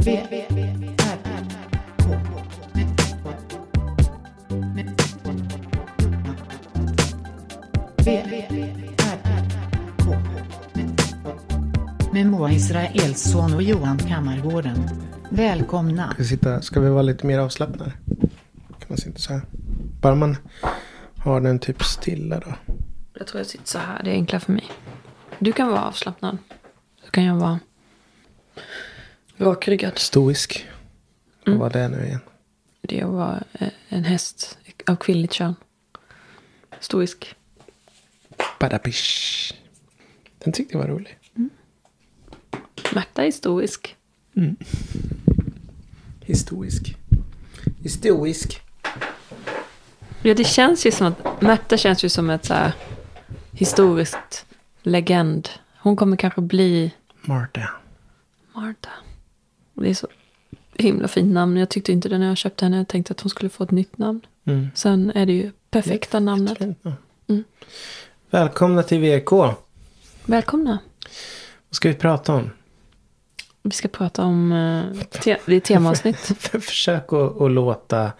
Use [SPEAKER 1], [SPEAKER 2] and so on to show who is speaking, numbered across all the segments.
[SPEAKER 1] V, R, K. V, R, K. Med Moa Israelsson och Johan Kammargården. Välkomna.
[SPEAKER 2] Ska, sitta, ska vi vara lite mer avslappnade? Kan man sitta så här? Bara man har den typ stilla då.
[SPEAKER 3] Jag tror jag sitter så här. Det är enklare för mig. Du kan vara avslappnad. Så kan jag vara rakryggad.
[SPEAKER 2] Stoisk. Vad var det nu igen?
[SPEAKER 3] Det är att vara eh, en häst av kvinnligt kön. Stoisk.
[SPEAKER 2] Badabish. Den tyckte jag var rolig.
[SPEAKER 3] Märta är stoisk.
[SPEAKER 2] Historisk. Historisk.
[SPEAKER 3] Ja, det känns ju som att Märta känns ju som ett så här historiskt legend. Hon kommer kanske bli
[SPEAKER 2] Marta.
[SPEAKER 3] Marta. Och Det är så himla fint namn. Jag tyckte inte det när jag köpte henne. Jag tänkte att hon skulle få ett nytt namn.
[SPEAKER 2] Mm.
[SPEAKER 3] Sen är det ju perfekta namnet.
[SPEAKER 2] Ja. Välkomna till VK. Vad
[SPEAKER 3] Välkomna.
[SPEAKER 2] ska vi prata om?
[SPEAKER 3] Vi ska prata om... eh, Te- det är temaavsnitt.
[SPEAKER 2] Försök att, att låta...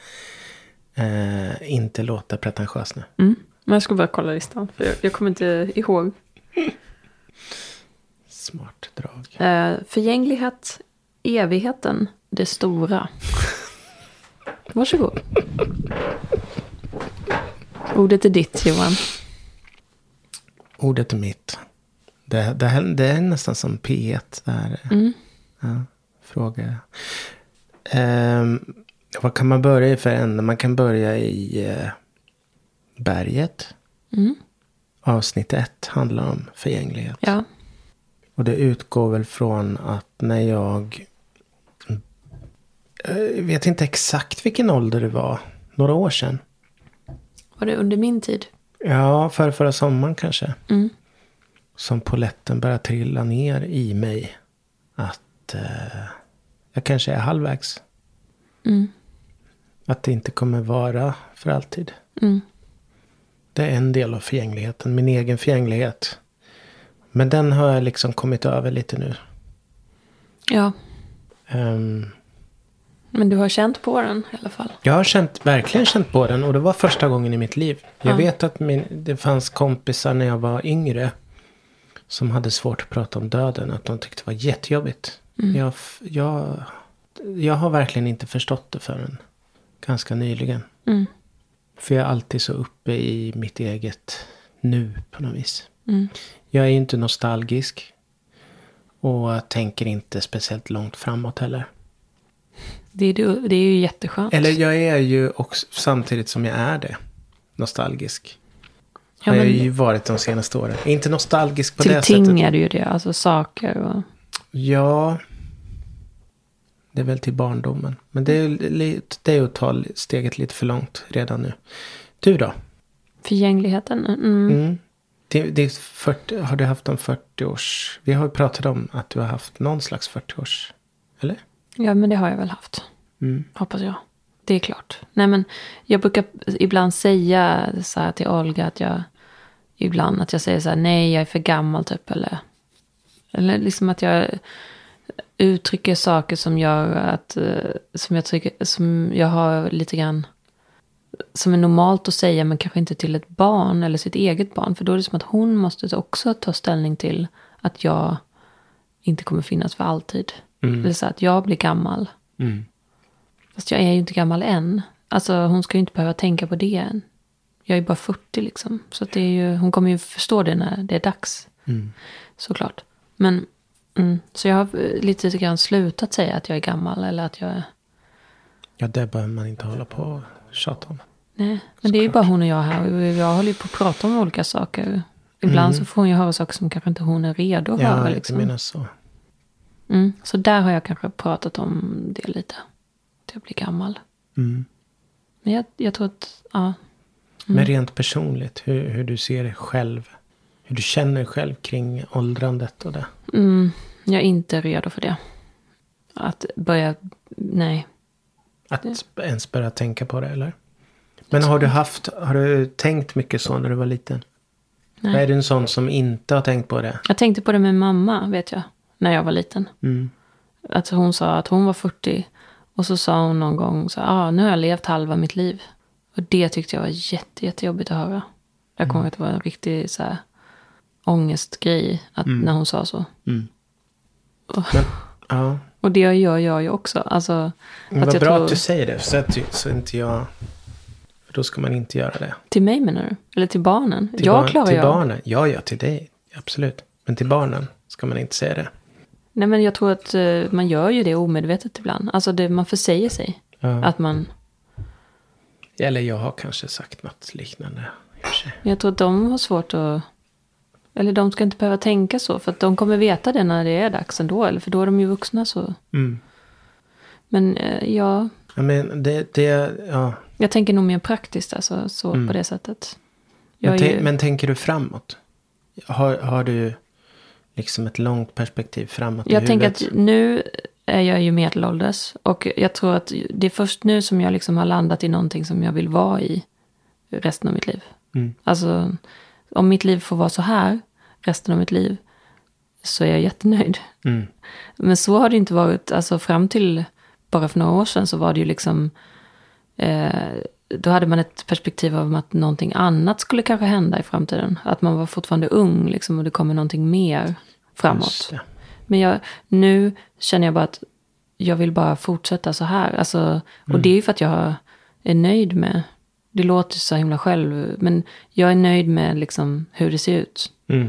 [SPEAKER 2] Eh, inte låta pretentiös nu.
[SPEAKER 3] Mm. Men jag ska bara kolla listan. För jag, jag kommer inte ihåg.
[SPEAKER 2] Smart drag.
[SPEAKER 3] Eh, förgänglighet, evigheten, det stora. Varsågod. Ordet är ditt, Johan.
[SPEAKER 2] Ordet är mitt. Det, det, här, det är nästan som P1. Där.
[SPEAKER 3] Mm.
[SPEAKER 2] Ja, fråga. Ehm, vad kan man börja i för ände? Man kan börja i eh, berget.
[SPEAKER 3] Mm.
[SPEAKER 2] Avsnitt ett handlar om förgänglighet.
[SPEAKER 3] Ja.
[SPEAKER 2] Och det utgår väl från att när jag... Jag vet inte exakt vilken ålder det var. Några år sedan.
[SPEAKER 3] Var det under min tid?
[SPEAKER 2] Ja, förra, förra sommaren kanske.
[SPEAKER 3] Mm.
[SPEAKER 2] som poletten börjar trilla ner i mig. Att eh, jag kanske är halvvägs.
[SPEAKER 3] Mm.
[SPEAKER 2] Att det inte kommer vara för alltid.
[SPEAKER 3] Mm.
[SPEAKER 2] Det är en del av förgängligheten, min egen förgänglighet. Men den har jag liksom kommit över lite nu.
[SPEAKER 3] Ja.
[SPEAKER 2] Ehm,
[SPEAKER 3] Men du har känt på den i alla fall.
[SPEAKER 2] jag har känt, verkligen känt på den och det var första gången i mitt liv. Jag
[SPEAKER 3] Ja.
[SPEAKER 2] vet att min, det fanns kompisar när jag var yngre som hade svårt att prata om döden. Att de tyckte det var jättejobbigt. Jag, f- jag, jag har verkligen inte förstått det förrän ganska nyligen.
[SPEAKER 3] Mm.
[SPEAKER 2] För jag är alltid så uppe i mitt eget nu på något vis.
[SPEAKER 3] Mm.
[SPEAKER 2] Jag är ju inte nostalgisk. Och tänker inte speciellt långt framåt heller.
[SPEAKER 3] Det, är, du- det är ju jätteskönt.
[SPEAKER 2] Eller jag är ju också, samtidigt som jag är det, nostalgisk. Har
[SPEAKER 3] ja, men,
[SPEAKER 2] jag ju varit de senaste åren. Inte nostalgisk på
[SPEAKER 3] till
[SPEAKER 2] det
[SPEAKER 3] ting
[SPEAKER 2] sättet.
[SPEAKER 3] är det ju det. Alltså saker och...
[SPEAKER 2] Ja. Det är väl till barndomen. Men det är, ju lite, det är ju att ta steget lite för långt redan nu. Du då?
[SPEAKER 3] Förgängligheten. Mm.
[SPEAKER 2] Mm. Det, det är 40, har du haft en 40-års... Vi har ju pratat om att du har haft någon slags 40-års... Eller?
[SPEAKER 3] Ja, men det har jag väl haft.
[SPEAKER 2] Mm.
[SPEAKER 3] Hoppas jag. Det är klart. Nej, men jag brukar ibland säga så här till Olga att jag... Ibland att jag säger så här, nej, jag är för gammal typ. Eller, eller liksom att jag uttrycker saker som gör att... eh, Som jag, tycker, som jag har lite grann... Som är normalt att säga, men kanske inte till ett barn eller sitt eget barn. För då är det som att hon måste också ta ställning till att jag inte kommer finnas för alltid. Eller så här, att jag blir gammal.
[SPEAKER 2] Mm.
[SPEAKER 3] Fast jag är ju inte gammal än. Alltså hon ska ju inte behöva tänka på det än. Jag är bara 40 liksom. Så att det är ju, hon kommer ju förstå det när det är dags. Såklart. Men, mm, så jag har eh, lite grann slutat säga att jag är gammal eller att jag är...
[SPEAKER 2] Ja, det behöver man inte hålla på och tjata om.
[SPEAKER 3] Nej, men det är ju bara hon och jag här. Och jag håller ju på att prata om olika saker. Ibland så får hon ju höra saker som kanske inte hon är redo att höra.
[SPEAKER 2] Mm. Ja, jag
[SPEAKER 3] Liksom.
[SPEAKER 2] menar så.
[SPEAKER 3] Mm, så där har jag kanske pratat om det lite. Att jag blir gammal.
[SPEAKER 2] Mm.
[SPEAKER 3] Men jag, jag tror att, ja,
[SPEAKER 2] Men
[SPEAKER 3] Mm.
[SPEAKER 2] rent personligt, hur, hur du ser dig själv. Hur du känner dig själv kring åldrandet och det.
[SPEAKER 3] Mm, jag är inte redo för det. Att börja, nej.
[SPEAKER 2] Att ens börja tänka på det, eller? Men har du haft, har du tänkt mycket så när du var liten?
[SPEAKER 3] Nej.
[SPEAKER 2] Är du en sån som inte har tänkt på det?
[SPEAKER 3] Jag tänkte på det med mamma, vet jag, när jag var liten.
[SPEAKER 2] Mm.
[SPEAKER 3] Att hon sa att hon var 40. Och så sa hon någon gång så ah, nu har jag levt halva mitt liv. Och det tyckte jag var jätte, jättejobbigt att höra. Jag
[SPEAKER 2] Mm.
[SPEAKER 3] kommer ihåg att det var en riktig så här, ångestgrej att,
[SPEAKER 2] Mm.
[SPEAKER 3] när hon sa så.
[SPEAKER 2] Ja.
[SPEAKER 3] Och det gör jag ju också. Alltså,
[SPEAKER 2] Men
[SPEAKER 3] att
[SPEAKER 2] vad
[SPEAKER 3] jag
[SPEAKER 2] bra
[SPEAKER 3] tror,
[SPEAKER 2] att du säger det. Så att så inte jag... För då ska man inte göra det.
[SPEAKER 3] Till mig menar du? Eller till barnen?
[SPEAKER 2] Till
[SPEAKER 3] jag
[SPEAKER 2] barn-
[SPEAKER 3] klarar
[SPEAKER 2] till
[SPEAKER 3] jag.
[SPEAKER 2] barnen. Ja, ja, till dig. Absolut. Men till barnen ska man inte säga det.
[SPEAKER 3] Nej men jag tror att eh, man gör ju det omedvetet ibland. Alltså det, man försäger sig.
[SPEAKER 2] Ja.
[SPEAKER 3] Att man,
[SPEAKER 2] Eller jag har kanske sagt något liknande. i och för sig.
[SPEAKER 3] jag tror att de har svårt att... Eller de ska inte behöva tänka så. För att de kommer veta det när det är dags ändå. Eller för då är de ju vuxna så.
[SPEAKER 2] Mm.
[SPEAKER 3] Men eh, ja,
[SPEAKER 2] Ja, men det, det, ja.
[SPEAKER 3] jag tänker nog mer praktiskt alltså. Så på det sättet. Jag
[SPEAKER 2] Mm. Men,
[SPEAKER 3] är
[SPEAKER 2] tän-
[SPEAKER 3] ju,
[SPEAKER 2] men tänker du framåt? Har, har du liksom ett långt perspektiv framåt i
[SPEAKER 3] jag tänker
[SPEAKER 2] huvudet?
[SPEAKER 3] att nu är jag ju medelålders. Och jag tror att det är först nu som jag liksom har landat i någonting som jag vill vara i resten av mitt liv.
[SPEAKER 2] Mm.
[SPEAKER 3] Alltså, om mitt liv får vara så här resten av mitt liv så är jag jättenöjd.
[SPEAKER 2] Mm.
[SPEAKER 3] Men så har det inte varit, alltså fram till bara för några år sedan så var det ju liksom, eh, då hade man ett perspektiv av att någonting annat skulle kanske hända i framtiden. Att man var fortfarande ung liksom och det kommer någonting mer framåt.
[SPEAKER 2] Just det.
[SPEAKER 3] Men jag, nu känner jag bara att jag vill bara fortsätta så här. Alltså, och
[SPEAKER 2] Mm.
[SPEAKER 3] det är ju för att jag är nöjd med, det låter så himla själv, men jag är nöjd med liksom hur det ser ut.
[SPEAKER 2] Mm.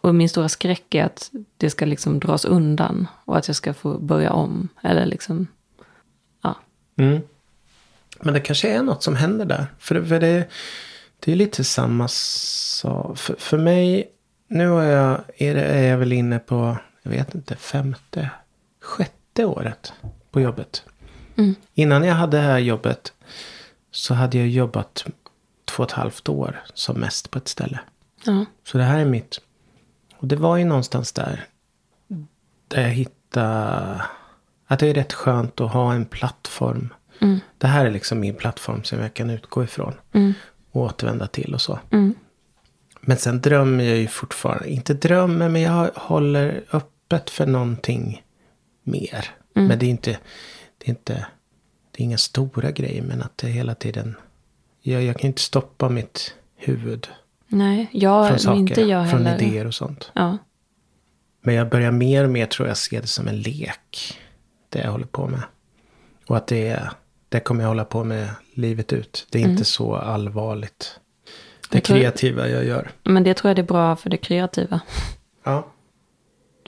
[SPEAKER 3] Och min stora skräck är att det ska liksom dras undan och att jag ska få börja om. Eller liksom, ja.
[SPEAKER 2] Mm. Men det kanske är något som händer där. För, för det, det är lite samma sak. För, för mig, nu är jag, är, det, är jag väl inne på, jag vet inte, femte, sjätte året på jobbet.
[SPEAKER 3] Mm.
[SPEAKER 2] Innan jag hade det här jobbet så hade jag jobbat två och ett halvt år som mest på ett ställe.
[SPEAKER 3] ja.
[SPEAKER 2] Så det här är mitt. Och det var ju någonstans där. Där jag hittade. Att det är rätt skönt att ha en plattform.
[SPEAKER 3] Mm.
[SPEAKER 2] Det här är liksom min plattform som jag kan utgå ifrån. Och återvända till och så.
[SPEAKER 3] Mm.
[SPEAKER 2] Men sen drömmer jag ju fortfarande. Inte drömmer men jag håller öppet för någonting mer.
[SPEAKER 3] Mm.
[SPEAKER 2] Men det är inte. Det är inte. Det är inga stora grejer men att det hela tiden. Jag, jag kan ju inte stoppa mitt huvud
[SPEAKER 3] Nej, jag,
[SPEAKER 2] från saker,
[SPEAKER 3] inte jag
[SPEAKER 2] från
[SPEAKER 3] heller.
[SPEAKER 2] idéer och sånt.
[SPEAKER 3] Ja.
[SPEAKER 2] Men jag börjar mer och mer tror jag se det som en lek. Det jag håller på med. Och att det, är- det kommer jag hålla på med livet ut. Det är inte så allvarligt. Det
[SPEAKER 3] Mm. Jag tror-
[SPEAKER 2] kreativa jag gör.
[SPEAKER 3] Men det tror jag det är bra för det kreativa.
[SPEAKER 2] Ja.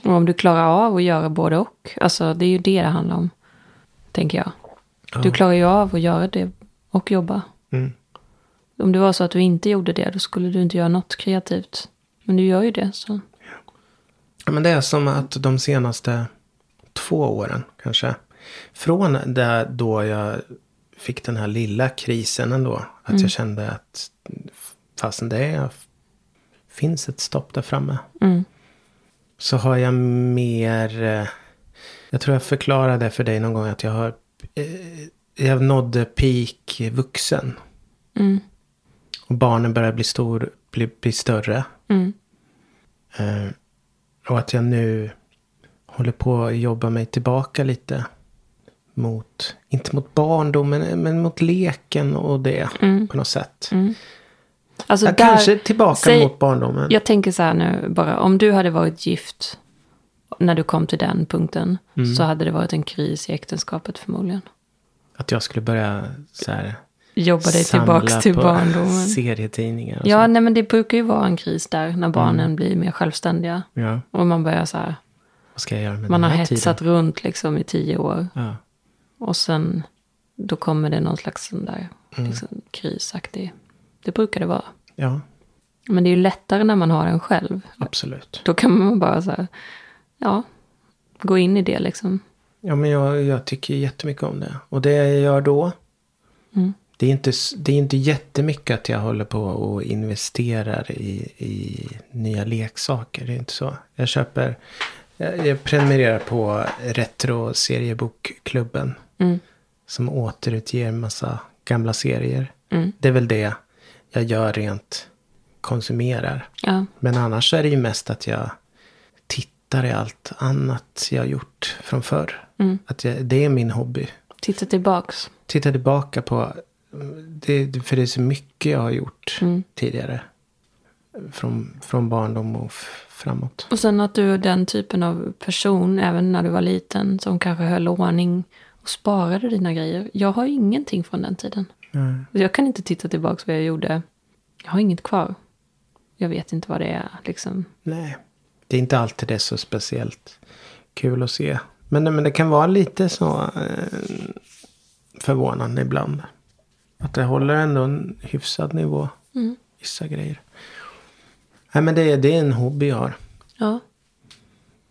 [SPEAKER 3] Och om du klarar av att göra både och. Alltså det är ju det det handlar om. Tänker jag. Du
[SPEAKER 2] Ja.
[SPEAKER 3] klarar ju av att göra det och jobba.
[SPEAKER 2] Mm.
[SPEAKER 3] Om det var så att du inte gjorde det, då skulle du inte göra något kreativt. Men du gör ju det, så.
[SPEAKER 2] Ja, Men det är som att de senaste två åren kanske. Från där då jag fick den här lilla krisen ändå. Att
[SPEAKER 3] Mm.
[SPEAKER 2] jag kände att fastän det är, finns ett stopp där framme.
[SPEAKER 3] Mm.
[SPEAKER 2] Så har jag mer... eh, Jag tror jag förklarade för dig någon gång att jag har... eh, Jag nådde peak vuxen.
[SPEAKER 3] Mm.
[SPEAKER 2] Och barnen börjar bli, stor, bli, bli större.
[SPEAKER 3] Mm.
[SPEAKER 2] Eh, och att jag nu håller på att jobba mig tillbaka lite. Mot, inte mot barndomen, men mot leken och det
[SPEAKER 3] Mm.
[SPEAKER 2] på något sätt.
[SPEAKER 3] Alltså,
[SPEAKER 2] Jag kanske är tillbaka mot barndomen.
[SPEAKER 3] Jag tänker så här nu bara, om du hade varit gift när du kom till den punkten
[SPEAKER 2] Mm.
[SPEAKER 3] så hade det varit en kris i äktenskapet förmodligen.
[SPEAKER 2] Att jag skulle börja så här,
[SPEAKER 3] Jobba dig
[SPEAKER 2] samla
[SPEAKER 3] tillbaks till
[SPEAKER 2] på
[SPEAKER 3] barndomen.
[SPEAKER 2] serietidningar och
[SPEAKER 3] Ja,
[SPEAKER 2] sånt. Mm.
[SPEAKER 3] nej men det brukar ju vara en kris där när barnen blir mer självständiga.
[SPEAKER 2] ja.
[SPEAKER 3] Och man börjar så här,
[SPEAKER 2] Vad ska jag göra med
[SPEAKER 3] man har
[SPEAKER 2] den här
[SPEAKER 3] hetsat
[SPEAKER 2] tiden?
[SPEAKER 3] runt liksom i tio år.
[SPEAKER 2] Ja.
[SPEAKER 3] Och sen, då kommer det någon slags sån där liksom, krisaktig. Det brukar det vara.
[SPEAKER 2] ja,
[SPEAKER 3] Men det är ju lättare när man har den själv.
[SPEAKER 2] absolut.
[SPEAKER 3] Då kan man bara så här, ja, gå in i det liksom.
[SPEAKER 2] Ja, men jag, jag tycker jättemycket om det. Och det jag gör då.
[SPEAKER 3] Mm,
[SPEAKER 2] Det, är inte, s- det är inte jättemycket att jag håller på och investerar i, i nya leksaker. Det är inte så. Jag köper. Jag, jag prenumererar på Retro-seriebokklubben.
[SPEAKER 3] mm,
[SPEAKER 2] Som återutger massa gamla serier.
[SPEAKER 3] mm.
[SPEAKER 2] Det är väl det jag gör rent konsumerar.
[SPEAKER 3] Ja.
[SPEAKER 2] Men annars är det ju mest att jag tittar tittar i allt annat jag gjort från förr. Att jag, det är min hobby.
[SPEAKER 3] Titta tillbaks.
[SPEAKER 2] Titta tillbaka på, det, för det är så mycket jag har gjort tidigare. Från, från barndom och f- framåt.
[SPEAKER 3] Och sen att du är den typen av person, även när du var liten, som kanske höll ordning och sparade dina grejer. Jag har ingenting från den tiden.
[SPEAKER 2] Nej.
[SPEAKER 3] Jag kan inte titta tillbaka vad jag gjorde. Jag har inget kvar. Jag vet inte vad det är, liksom.
[SPEAKER 2] Nej. Det är inte alltid det är så speciellt kul att se. Men, men det kan vara lite så eh, förvånande ibland. Att det håller ändå en hyfsad nivå. Vissa grejer. Nej men det, är- det är en hobby jag har.
[SPEAKER 3] Ja.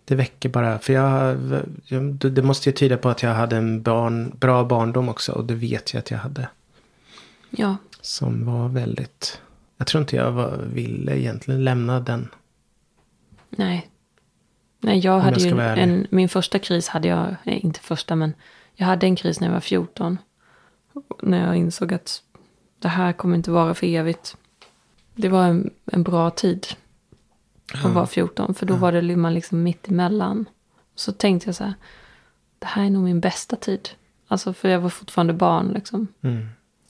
[SPEAKER 2] Det väcker bara. För jag, jag, det måste ju tyda på att jag hade en barn, bra barndom också. Och det vet jag att jag hade.
[SPEAKER 3] Ja.
[SPEAKER 2] Som var väldigt. Jag tror inte jag var, ville egentligen lämna den.
[SPEAKER 3] Nej. Nej, jag
[SPEAKER 2] jag
[SPEAKER 3] hade
[SPEAKER 2] ska
[SPEAKER 3] ju
[SPEAKER 2] vara ärlig.
[SPEAKER 3] en, min första kris hade jag, nej, inte första men, jag hade en kris när jag var 14. När jag insåg att det här kommer inte vara för evigt. Det var en, en bra tid att vara 14, för då var det li- man liksom mitt emellan. Så tänkte jag så här, det här är nog min bästa tid. Alltså för jag var fortfarande barn liksom.
[SPEAKER 2] Mm.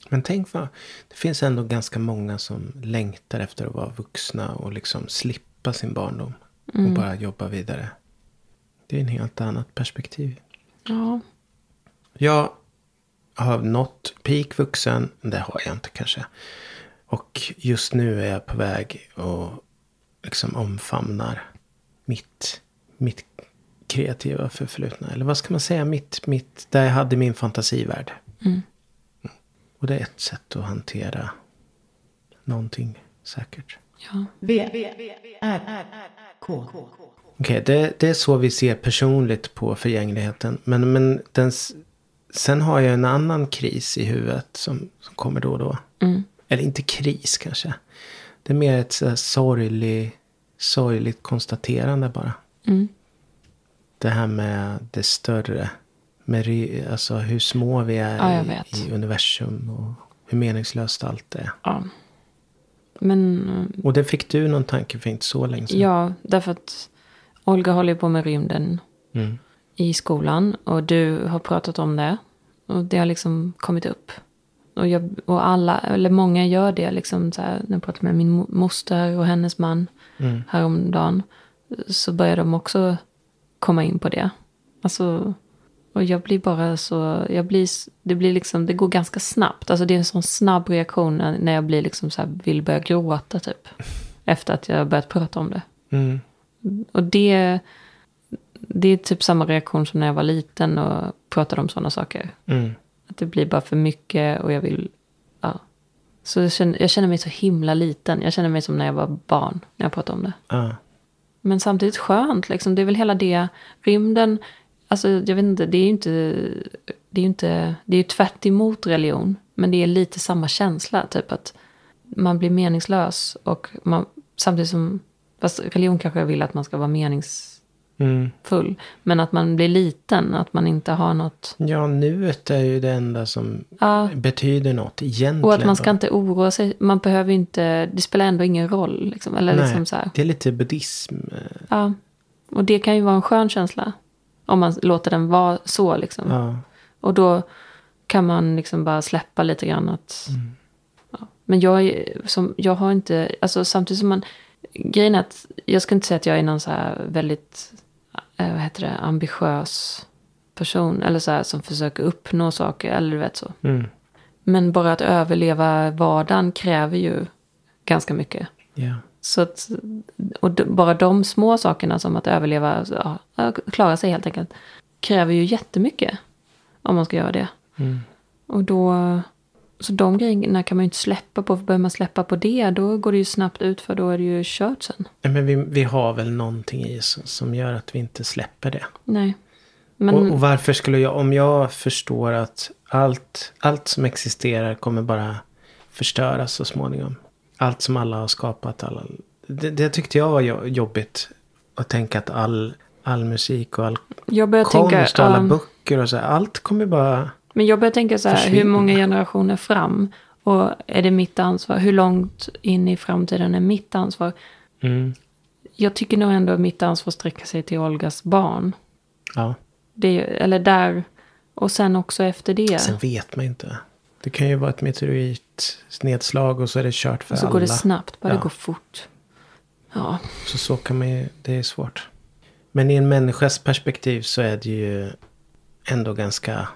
[SPEAKER 2] Men tänk vad, det finns ändå ganska många som längtar efter att vara vuxna och liksom slippa sin barndom. Och bara jobba vidare. Det är en helt annat perspektiv.
[SPEAKER 3] Ja,
[SPEAKER 2] Jag har nått peak vuxen, det har jag inte kanske. Och just nu är jag på väg och liksom omfamnar mitt, mitt kreativa förflutna. Eller vad ska man säga, mitt, mitt, där jag hade min fantasivärld. Mm. Och det är ett sätt att hantera någonting säkert.
[SPEAKER 3] ja,
[SPEAKER 1] V, R, K.
[SPEAKER 2] Okej, det, det är så vi ser personligt på förgängligheten. Men, men den, s- sen har jag en annan kris i huvudet som, som kommer då och då.
[SPEAKER 3] Mm.
[SPEAKER 2] Eller inte kris kanske. Det är mer ett så här sorglig, sorgligt konstaterande bara.
[SPEAKER 3] mm.
[SPEAKER 2] Det här med det större. Med, re- alltså hur små vi är
[SPEAKER 3] Ja, jag
[SPEAKER 2] i-
[SPEAKER 3] vet.
[SPEAKER 2] i universum och hur meningslöst allt är.
[SPEAKER 3] ja. Men mm,
[SPEAKER 2] Och det fick du någon tanke för inte så länge sedan.
[SPEAKER 3] Ja, därför att Olga håller ju på med rymden
[SPEAKER 2] Mm.
[SPEAKER 3] i skolan. Och du har pratat om det. Och det har liksom kommit upp. Och, jag, och alla, eller många gör det. Liksom så här, när jag pratade med min mo- moster och hennes man häromdagen. Så börjar de också komma in på det. Alltså, och jag blir bara så, jag blir, s- det blir liksom, det går ganska snabbt. Alltså det är en sån snabb reaktion när när jag blir liksom så här, vill börja gråta typ. Efter att jag har börjat prata om det.
[SPEAKER 2] Mm.
[SPEAKER 3] Och det, det är typ samma reaktion som när jag var liten och pratade om sådana saker.
[SPEAKER 2] Mm.
[SPEAKER 3] Att det blir bara för mycket och jag vill... Ja. Så jag känner, jag känner mig så himla liten. Jag känner mig som när jag var barn, när jag pratade om det.
[SPEAKER 2] Ja.
[SPEAKER 3] Men samtidigt skönt, liksom. det är väl hela det. Rymden, alltså jag vet inte, det är ju inte... Det är ju inte, det är ju tvärt emot religion. Men det är lite samma känsla, typ att man blir meningslös. Och man, samtidigt som, fast religion kanske vill att man ska vara menings
[SPEAKER 2] Mm.
[SPEAKER 3] full. Men att man blir liten, att man inte har något.
[SPEAKER 2] Ja, nuet är ju det enda som
[SPEAKER 3] Ja.
[SPEAKER 2] betyder något egentligen.
[SPEAKER 3] Och att man ska
[SPEAKER 2] då.
[SPEAKER 3] inte oroa sig. Man behöver inte, det spelar ändå ingen roll. Liksom, eller
[SPEAKER 2] Nej,
[SPEAKER 3] liksom så här.
[SPEAKER 2] Det är lite buddhism. eh,
[SPEAKER 3] Ja. Och det kan ju vara en skön känsla. Om man låter den vara så liksom.
[SPEAKER 2] Ja.
[SPEAKER 3] Och då kan man liksom bara släppa lite grann att...
[SPEAKER 2] Mm.
[SPEAKER 3] Ja. Men jag, är, som, jag har inte... Alltså samtidigt som man... Grejen är att jag ska inte säga att jag är någon så här väldigt... eh, Vad heter det? Ambitiös person. Eller så här som försöker uppnå saker. Eller du vet så.
[SPEAKER 2] Mm.
[SPEAKER 3] Men bara att överleva vardagen kräver ju ganska mycket.
[SPEAKER 2] Ja.
[SPEAKER 3] Så att, och d- bara de små sakerna som att överleva, ja, klara sig helt enkelt, kräver ju jättemycket om man ska göra det.
[SPEAKER 2] Mm.
[SPEAKER 3] Och då, så de grejerna kan man ju inte släppa på, för börjar man släppa på det då går det ju snabbt ut för då är det ju kört sen.
[SPEAKER 2] Nej, Men vi, vi har väl någonting i oss som gör att vi inte släpper det.
[SPEAKER 3] Nej. Men
[SPEAKER 2] Och, och varför skulle jag, om jag förstår att allt, allt som existerar kommer bara förstöras så småningom. Allt som alla har skapat. Alla, det, det tyckte jag var jo- jobbigt. Att tänka att all, all musik och all
[SPEAKER 3] jag börjar tänka...
[SPEAKER 2] konst och alla
[SPEAKER 3] ja.
[SPEAKER 2] böcker och så. här, Allt kommer bara...
[SPEAKER 3] Men jag börjar tänka så här, hur
[SPEAKER 2] Försvinna.
[SPEAKER 3] många generationer fram? Och är det mitt ansvar? Hur långt in i framtiden är mitt ansvar?
[SPEAKER 2] Mm.
[SPEAKER 3] jag tycker nog ändå att mitt ansvar sträcker sig till Olgas barn.
[SPEAKER 2] Ja.
[SPEAKER 3] Det, eller där, och sen också efter det.
[SPEAKER 2] Sen vet man inte. Det kan ju vara ett meteoritnedslag och så är det kört för
[SPEAKER 3] och så
[SPEAKER 2] alla.
[SPEAKER 3] går det snabbt, bara
[SPEAKER 2] Ja.
[SPEAKER 3] det går fort. Ja,
[SPEAKER 2] Så så kan man ju, det är svårt. Men i en människas perspektiv så är det ju ändå ganska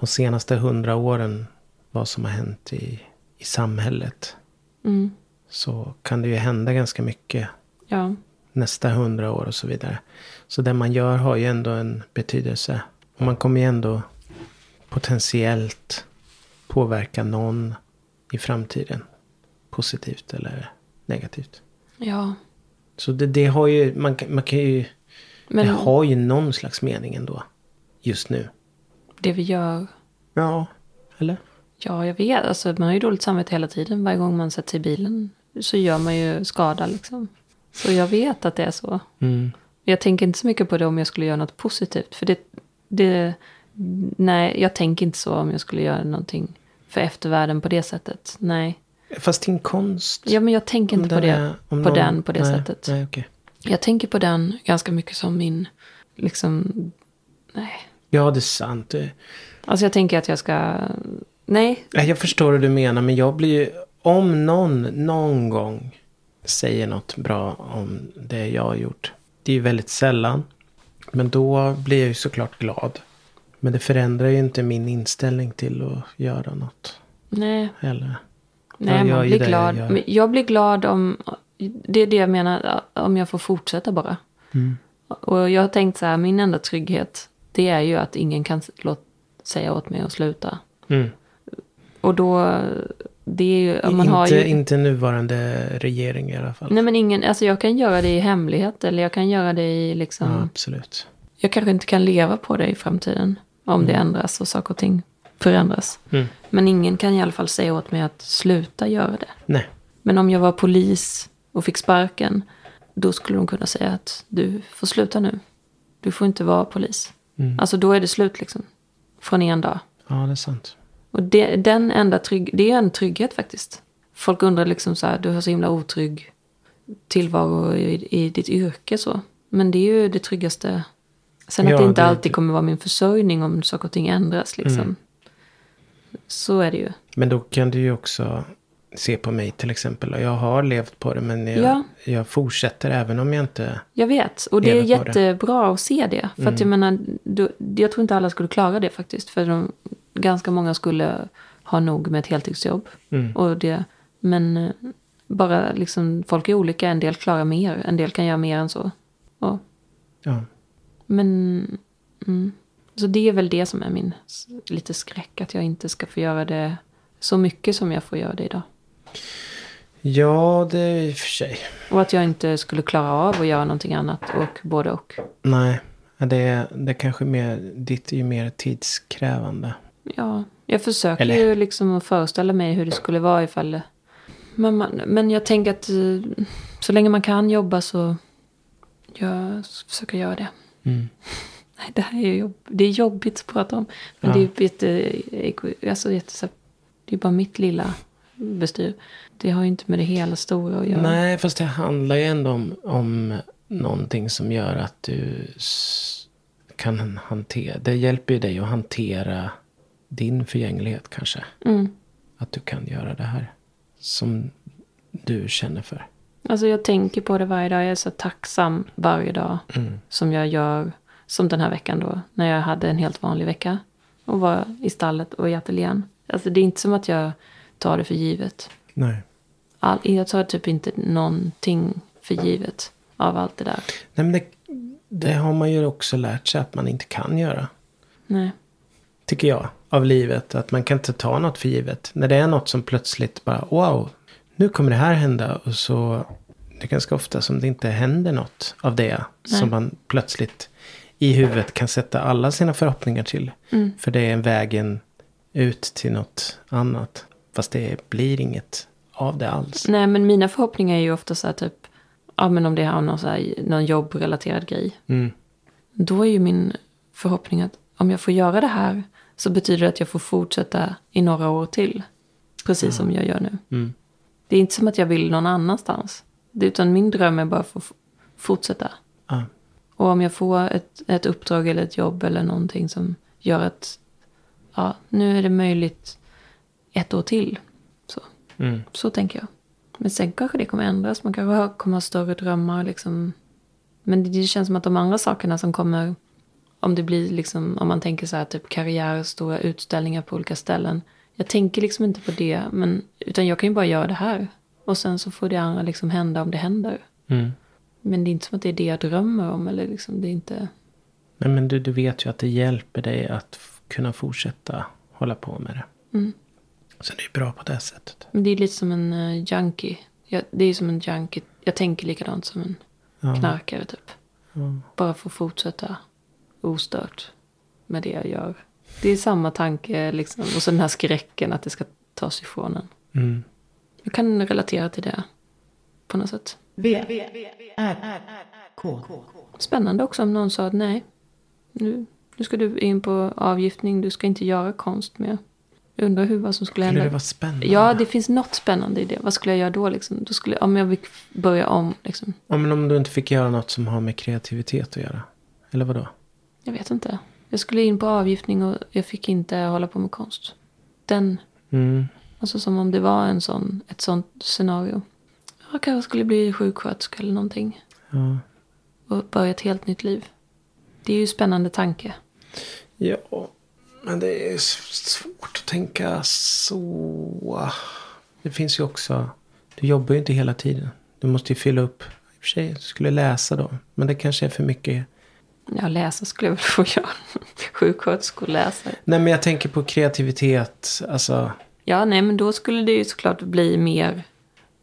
[SPEAKER 2] de senaste hundra åren vad som har hänt i, i samhället.
[SPEAKER 3] mm,
[SPEAKER 2] Så kan det ju hända ganska mycket
[SPEAKER 3] ja,
[SPEAKER 2] nästa hundra år och så vidare. Så det man gör har ju ändå en betydelse. Och man kommer ju ändå potentiellt påverka någon i framtiden. Positivt eller negativt.
[SPEAKER 3] ja.
[SPEAKER 2] Så det, det har ju, man, kan- man kan ju,
[SPEAKER 3] Men
[SPEAKER 2] det har ju någon slags mening ändå. Just nu.
[SPEAKER 3] det vi gör,
[SPEAKER 2] Ja. Eller?
[SPEAKER 3] ja jag vet, alltså man har ju dåligt samvete hela tiden. Varje gång man sätter sig i bilen så gör man ju skada liksom. Så jag vet att det är så.
[SPEAKER 2] Mm.
[SPEAKER 3] Jag tänker inte så mycket på det om jag skulle göra något positivt. För det, det, nej, jag tänker inte så om jag skulle göra någonting för eftervärlden på det sättet. Nej,
[SPEAKER 2] Fast din konst.
[SPEAKER 3] ja, men jag tänker
[SPEAKER 2] om
[SPEAKER 3] inte på
[SPEAKER 2] den
[SPEAKER 3] det.
[SPEAKER 2] är- om
[SPEAKER 3] på den på det
[SPEAKER 2] nej,
[SPEAKER 3] sättet.
[SPEAKER 2] Nej, okej.
[SPEAKER 3] Jag tänker på den ganska mycket som min, liksom, nej.
[SPEAKER 2] Ja, det är sant. Det,
[SPEAKER 3] Alltså jag tänker att jag ska, nej,
[SPEAKER 2] Nej, Jag förstår hur du menar, men jag blir ju... Om någon någon gång säger något bra om det jag har gjort. Det är ju väldigt sällan. Men då blir jag ju såklart glad. Men det förändrar ju inte min inställning till att göra något.
[SPEAKER 3] nej.
[SPEAKER 2] Eller?
[SPEAKER 3] Nej,
[SPEAKER 2] Jag gör
[SPEAKER 3] man
[SPEAKER 2] ju
[SPEAKER 3] blir
[SPEAKER 2] det jag
[SPEAKER 3] glad.
[SPEAKER 2] gör.
[SPEAKER 3] Men jag blir glad om, det är det jag menar, om jag får fortsätta bara.
[SPEAKER 2] Mm.
[SPEAKER 3] Och jag har tänkt så här, min enda trygghet, det är ju att ingen kan låt, säga åt mig att sluta.
[SPEAKER 2] Mm.
[SPEAKER 3] Och då, det är ju, man
[SPEAKER 2] inte,
[SPEAKER 3] har ju...
[SPEAKER 2] inte nuvarande regering i alla fall.
[SPEAKER 3] Nej men ingen, alltså jag kan göra det i hemlighet eller jag kan göra det i liksom...
[SPEAKER 2] Ja, absolut.
[SPEAKER 3] Jag kanske inte kan leva på det i framtiden. Om det ändras och saker och ting förändras.
[SPEAKER 2] Mm.
[SPEAKER 3] Men ingen kan i alla fall säga åt mig att sluta göra det.
[SPEAKER 2] Nej.
[SPEAKER 3] Men om jag var polis och fick sparken, då skulle de kunna säga att du får sluta nu. Du får inte vara polis.
[SPEAKER 2] Mm.
[SPEAKER 3] Alltså då är det slut liksom. Från en dag.
[SPEAKER 2] Ja, det är sant.
[SPEAKER 3] Och det, den enda trygg, det är en trygghet faktiskt. Folk undrar liksom så här, du har så himla otrygg tillvaro i, i ditt yrke så. Men det är ju det tryggaste. Sen
[SPEAKER 2] Ja,
[SPEAKER 3] att det inte
[SPEAKER 2] det- Mm.
[SPEAKER 3] alltid kommer vara min försörjning om saker och ting ändras liksom. Så är det ju.
[SPEAKER 2] Men då kan du ju också se på mig till exempel. Jag har levt på det, men jag,
[SPEAKER 3] Ja.
[SPEAKER 2] jag fortsätter även om jag inte...
[SPEAKER 3] Jag vet, och det är
[SPEAKER 2] Lever på det.
[SPEAKER 3] jättebra att se det. För att jag menar, du, jag tror inte alla skulle klara det faktiskt. För de, ganska många skulle ha nog med ett heltidsjobb. Och det, men eh, bara liksom, folk är olika. En del klarar mer, en del kan göra mer än så. Och,
[SPEAKER 2] Ja.
[SPEAKER 3] men, mm. Så det är väl det som är min s- lite skräck. Att jag inte ska få göra det så mycket som jag får göra det idag.
[SPEAKER 2] Ja, det är i och för sig.
[SPEAKER 3] Och att jag inte skulle klara av att göra någonting annat. Och både och.
[SPEAKER 2] Nej, det är, det är kanske mer, ditt är ju mer tidskrävande.
[SPEAKER 3] Ja, jag försöker
[SPEAKER 2] Eller-
[SPEAKER 3] ju liksom att föreställa mig hur det skulle vara ifall... Men, man, men jag tänker att eh, så länge man kan jobba så jag s- försöker göra det.
[SPEAKER 2] Mm.
[SPEAKER 3] Nej, det här är ju jobb, det är jobbigt att prata om. Men
[SPEAKER 2] Ja.
[SPEAKER 3] det är ju jätte, eko- alltså jätte, så- det är bara mitt lilla bestyr. Det har ju inte med det hela stora att göra.
[SPEAKER 2] Nej, fast det handlar ju ändå om, om någonting som gör att du s- kan hantera, det hjälper ju dig att hantera din förgänglighet kanske.
[SPEAKER 3] Mm.
[SPEAKER 2] Att du kan göra det här som du känner för.
[SPEAKER 3] Alltså jag tänker på det varje dag. Jag är så tacksam varje dag som jag gör. Som den här veckan då, när jag hade en helt vanlig vecka. Och var i stallet och i ateljén. Alltså det är inte som att jag tar det för givet.
[SPEAKER 2] Nej.
[SPEAKER 3] All, jag tar typ inte någonting för givet av allt det där.
[SPEAKER 2] Nej, men det, det har man ju också lärt sig att man inte kan göra.
[SPEAKER 3] Nej.
[SPEAKER 2] tycker jag, av livet. Att man kan inte ta något för givet. När det är något som plötsligt bara, wow, nu kommer det här hända. Och så, det är ganska ofta som det inte händer något av det. Som man plötsligt i huvudet kan sätta alla sina förhoppningar till. För det är vägen ut till något annat. Fast det blir inget av det alls.
[SPEAKER 3] Nej men mina förhoppningar är ju ofta så här typ. Ja men om det är någon, så här, någon jobbrelaterad grej.
[SPEAKER 2] Mm.
[SPEAKER 3] Då är ju min förhoppning att om jag får göra det här så betyder det att jag får fortsätta i några år till. Precis som jag gör nu.
[SPEAKER 2] Mm.
[SPEAKER 3] Det är inte som att jag vill någon annanstans. Det, utan min dröm är bara att få f- fortsätta.
[SPEAKER 2] Ja.
[SPEAKER 3] Och om jag får ett, ett uppdrag eller ett jobb eller någonting som gör att ja, nu är det möjligt ett år till. Så,
[SPEAKER 2] Mm.
[SPEAKER 3] så tänker jag. Men sen kanske det kommer ändras. Man kanske har- kommer ha större drömmar. Liksom. Men det, det känns som att de andra sakerna som kommer, om det blir liksom, om man tänker så här typ karriär, stora utställningar på olika ställen. Jag tänker liksom inte på det, men, utan jag kan ju bara göra det här. Och sen så får det andra liksom hända om det händer.
[SPEAKER 2] Mm.
[SPEAKER 3] Men det är inte som att det är det jag drömmer om. Eller liksom, det är inte...
[SPEAKER 2] Nej, men du, du vet ju att det hjälper dig att f- kunna fortsätta hålla på med det.
[SPEAKER 3] Mm.
[SPEAKER 2] Så det är bra på det sättet.
[SPEAKER 3] Men det är lite som en eh, junkie. Jag, det är som en junkie. Jag tänker likadant som en
[SPEAKER 2] Ja.
[SPEAKER 3] knarkare typ.
[SPEAKER 2] Ja.
[SPEAKER 3] Bara få fortsätta ostört med det jag gör. Det är samma tanke liksom. Och så den här skräcken att det ska tas ifrån en.
[SPEAKER 2] Mm.
[SPEAKER 3] Jag kan relatera till det på något sätt.
[SPEAKER 1] V, R, K.
[SPEAKER 3] Spännande också om någon sa att nej, nu, nu ska du in på avgiftning, du ska inte göra konst mer. Jag Undrar hur, vad som
[SPEAKER 2] Skulle
[SPEAKER 3] skulle hända.
[SPEAKER 2] det vara spännande?
[SPEAKER 3] Ja, det finns något spännande i det. Vad skulle jag göra då? Liksom? då skulle, om jag fick börja om, liksom.
[SPEAKER 2] Ja, men om du inte fick göra något som har med kreativitet att göra. Eller vadå?
[SPEAKER 3] jag vet inte. Jag skulle in på avgiftning och jag fick inte hålla på med konst. Den,
[SPEAKER 2] Mm.
[SPEAKER 3] alltså som om det var en sån, ett sånt scenario. Jag kanske skulle bli sjuksköterska eller någonting
[SPEAKER 2] Ja.
[SPEAKER 3] och börja ett helt nytt liv. Det är ju en spännande tanke.
[SPEAKER 2] ja, men det är s- svårt att tänka så. Det finns ju också... Du jobbar ju inte hela tiden. Du måste ju fylla upp. I och för sig, du skulle läsa då. Men det kanske är för mycket.
[SPEAKER 3] Ja, läsa skulle jag väl få göra. Sjuksköterskeläsare.
[SPEAKER 2] Nej, men jag tänker på kreativitet. Alltså...
[SPEAKER 3] Ja, nej, men då skulle det ju såklart bli mer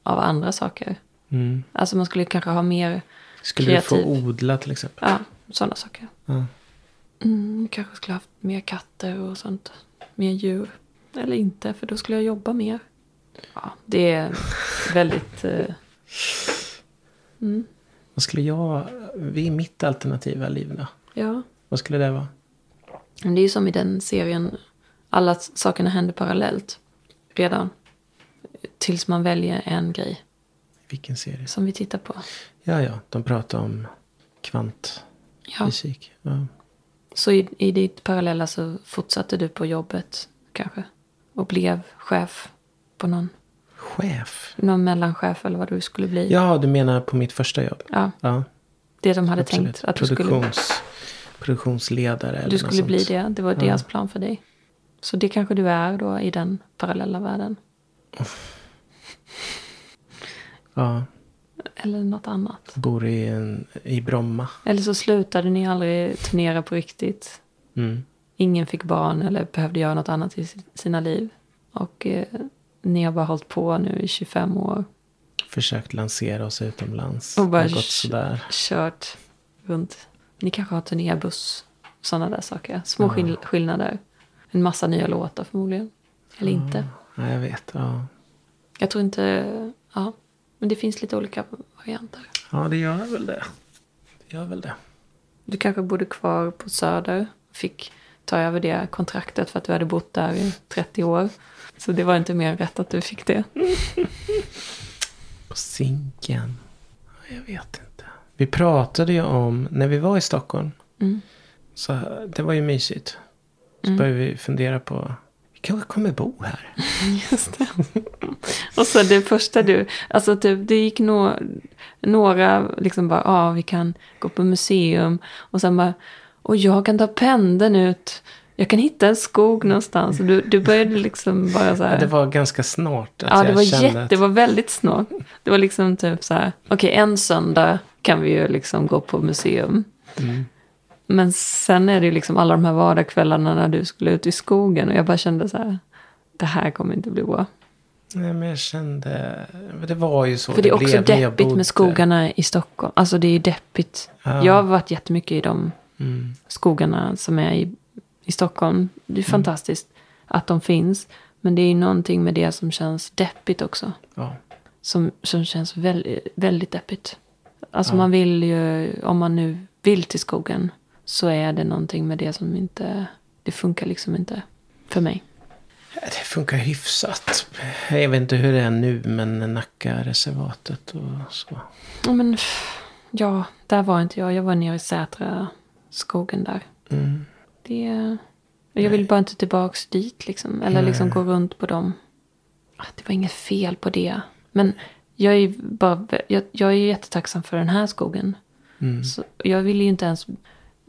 [SPEAKER 3] av andra saker.
[SPEAKER 2] Mm.
[SPEAKER 3] Alltså man skulle kanske ha mer
[SPEAKER 2] Skulle du
[SPEAKER 3] Kreativ.
[SPEAKER 2] få odla till exempel?
[SPEAKER 3] Ja, sådana saker.
[SPEAKER 2] typ. Ja.
[SPEAKER 3] Mm, kanske skulle haft mer katter och sånt. Mer djur. Eller inte, för då skulle jag jobba mer. Ja, det är väldigt... Eh,
[SPEAKER 2] Vad skulle jag... Vid mitt alternativa liv då?
[SPEAKER 3] ja.
[SPEAKER 2] Vad skulle det vara?
[SPEAKER 3] Men det är ju som i den serien. Alla s- sakerna händer parallellt. Redan. Tills man väljer en grej
[SPEAKER 2] Vilken serie?
[SPEAKER 3] som vi tittar på.
[SPEAKER 2] Ja, ja. De pratar om kvantfysik.
[SPEAKER 3] Ja.
[SPEAKER 2] Ja.
[SPEAKER 3] Så i, i ditt parallella så fortsatte du på jobbet kanske? Och blev chef på någon,
[SPEAKER 2] Chef?
[SPEAKER 3] någon mellanchef eller vad du skulle bli?
[SPEAKER 2] Ja, du menar på mitt första jobb?
[SPEAKER 3] Ja,
[SPEAKER 2] Ja,
[SPEAKER 3] det de hade
[SPEAKER 2] absolut.
[SPEAKER 3] tänkt att du skulle,
[SPEAKER 2] Produktions, Produktionsledare eller
[SPEAKER 3] du
[SPEAKER 2] något
[SPEAKER 3] skulle bli
[SPEAKER 2] sånt.
[SPEAKER 3] det. Det var deras plan för dig. Så det kanske du är då i den parallella världen.
[SPEAKER 2] Ja,
[SPEAKER 3] Eller något annat.
[SPEAKER 2] bor i, en, i Bromma.
[SPEAKER 3] Eller så slutade ni aldrig turnera på riktigt.
[SPEAKER 2] Mm.
[SPEAKER 3] Ingen fick barn eller behövde göra något annat i si- sina liv. Och eh, ni har bara hållit på nu i 25 år.
[SPEAKER 2] Försökt lansera oss utomlands.
[SPEAKER 3] Och bara
[SPEAKER 2] det har gått
[SPEAKER 3] sh-
[SPEAKER 2] sådär.
[SPEAKER 3] kört runt. Ni kanske har turnébuss. Sådana där saker. Små skill- skillnader. En massa nya låtar förmodligen. Eller inte.
[SPEAKER 2] Ja, jag vet. Ja.
[SPEAKER 3] Jag tror inte... Ja. Men det finns lite olika varianter.
[SPEAKER 2] ja, det gör väl det. Det gör väl det.
[SPEAKER 3] Du kanske bodde kvar på Söder. Fick ta över det kontraktet för att du hade bott där i 30 år. Så det var inte mer än rätt att du fick det.
[SPEAKER 2] På Zinken. Ja, Jag vet inte. Vi pratade ju om, när vi var i Stockholm.
[SPEAKER 3] Mm.
[SPEAKER 2] Så det var ju mysigt. Så började vi fundera på, vi kanske kommer bo här.
[SPEAKER 3] Just det. Och så det första du, alltså typ, det gick no, några liksom bara, ja ah, vi kan gå på museum och sen bara, och jag kan ta pendeln ut, jag kan hitta en skog någonstans. Och du, du började liksom bara så här.
[SPEAKER 2] Ja, det var ganska snart att
[SPEAKER 3] Ja, det
[SPEAKER 2] jag
[SPEAKER 3] var,
[SPEAKER 2] kände
[SPEAKER 3] jätte,
[SPEAKER 2] att...
[SPEAKER 3] det var väldigt snart. Det var liksom typ så här, okej en söndag kan vi ju liksom gå på museum.
[SPEAKER 2] Mm.
[SPEAKER 3] Men sen är det ju liksom alla de här vardagskvällarna när du skulle ut i skogen och jag bara kände så här, det här kommer inte bli bra.
[SPEAKER 2] Nej, men jag kände... men Det var ju så
[SPEAKER 3] För det är också
[SPEAKER 2] blev när jag
[SPEAKER 3] deppigt
[SPEAKER 2] bodde.
[SPEAKER 3] med skogarna i Stockholm. Alltså det är deppigt.
[SPEAKER 2] Ja.
[SPEAKER 3] Jag har varit jättemycket i de
[SPEAKER 2] Mm.
[SPEAKER 3] skogarna som är i, i Stockholm. Det är fantastiskt att de finns. Men det är ju någonting med det som känns deppigt också.
[SPEAKER 2] Ja.
[SPEAKER 3] Som, som känns väldigt, väldigt deppigt. Alltså man vill ju, om man nu vill till skogen. Så är det någonting med det som inte, det funkar liksom inte för mig.
[SPEAKER 2] Det funkar hyfsat. Jag vet inte hur det är nu, men Nacka-reservatet och så.
[SPEAKER 3] Ja, men pff, Ja, där var inte jag. Jag var nere i Sätra skogen där.
[SPEAKER 2] Mm.
[SPEAKER 3] Det, jag vill bara inte tillbaks dit liksom. Eller liksom gå runt på dem. Ah, Det var inget fel på det. Men jag är, bara, jag, jag är jättetacksam för den här skogen.
[SPEAKER 2] Mm.
[SPEAKER 3] Så jag vill ju inte ens...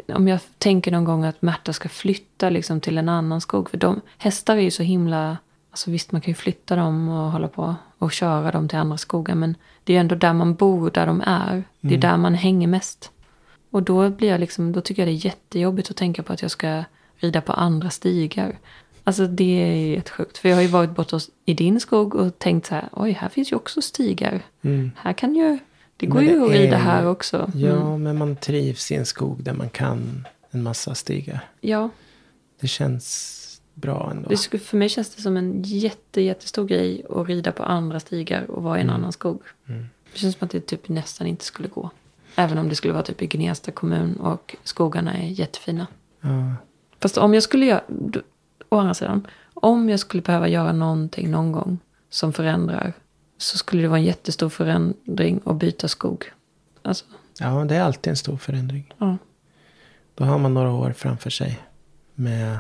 [SPEAKER 3] Om jag tänker någon gång att Märta ska flytta liksom till en annan skog. För de, hästar är ju så himla... Alltså visst, man kan ju flytta dem och hålla på och köra dem till andra skogar. Men det är ju ändå där man bor, där de är. Det är där man hänger mest. Och då blir jag liksom, då tycker jag det är jättejobbigt att tänka på att jag ska rida på andra stigar. Alltså det är helt sjukt. För jag har ju varit borta hos- i din skog och tänkt så här, oj här finns ju också stigar.
[SPEAKER 2] Mm.
[SPEAKER 3] Här kan ju, det går
[SPEAKER 2] Men
[SPEAKER 3] ju
[SPEAKER 2] det
[SPEAKER 3] att
[SPEAKER 2] är
[SPEAKER 3] rida
[SPEAKER 2] ju-
[SPEAKER 3] här också. Mm.
[SPEAKER 2] Ja, men man trivs i en skog där man kan en massa stigar.
[SPEAKER 3] Ja,
[SPEAKER 2] Det känns bra ändå.
[SPEAKER 3] det skulle, för mig känns det som en jätte, jättestor grej att rida på andra stigar och vara i en
[SPEAKER 2] Mm.
[SPEAKER 3] annan skog. Det känns som att det typ nästan inte skulle gå. Även om det skulle vara typ i Gnesta kommun och skogarna är jättefina.
[SPEAKER 2] Ja.
[SPEAKER 3] Fast om jag skulle göra, d- å andra sidan, om jag skulle behöva göra någonting någon gång som förändrar så skulle det vara en jättestor förändring att byta skog. Alltså,
[SPEAKER 2] ja, det är alltid en stor förändring.
[SPEAKER 3] ja.
[SPEAKER 2] Då har man några år framför sig. Med,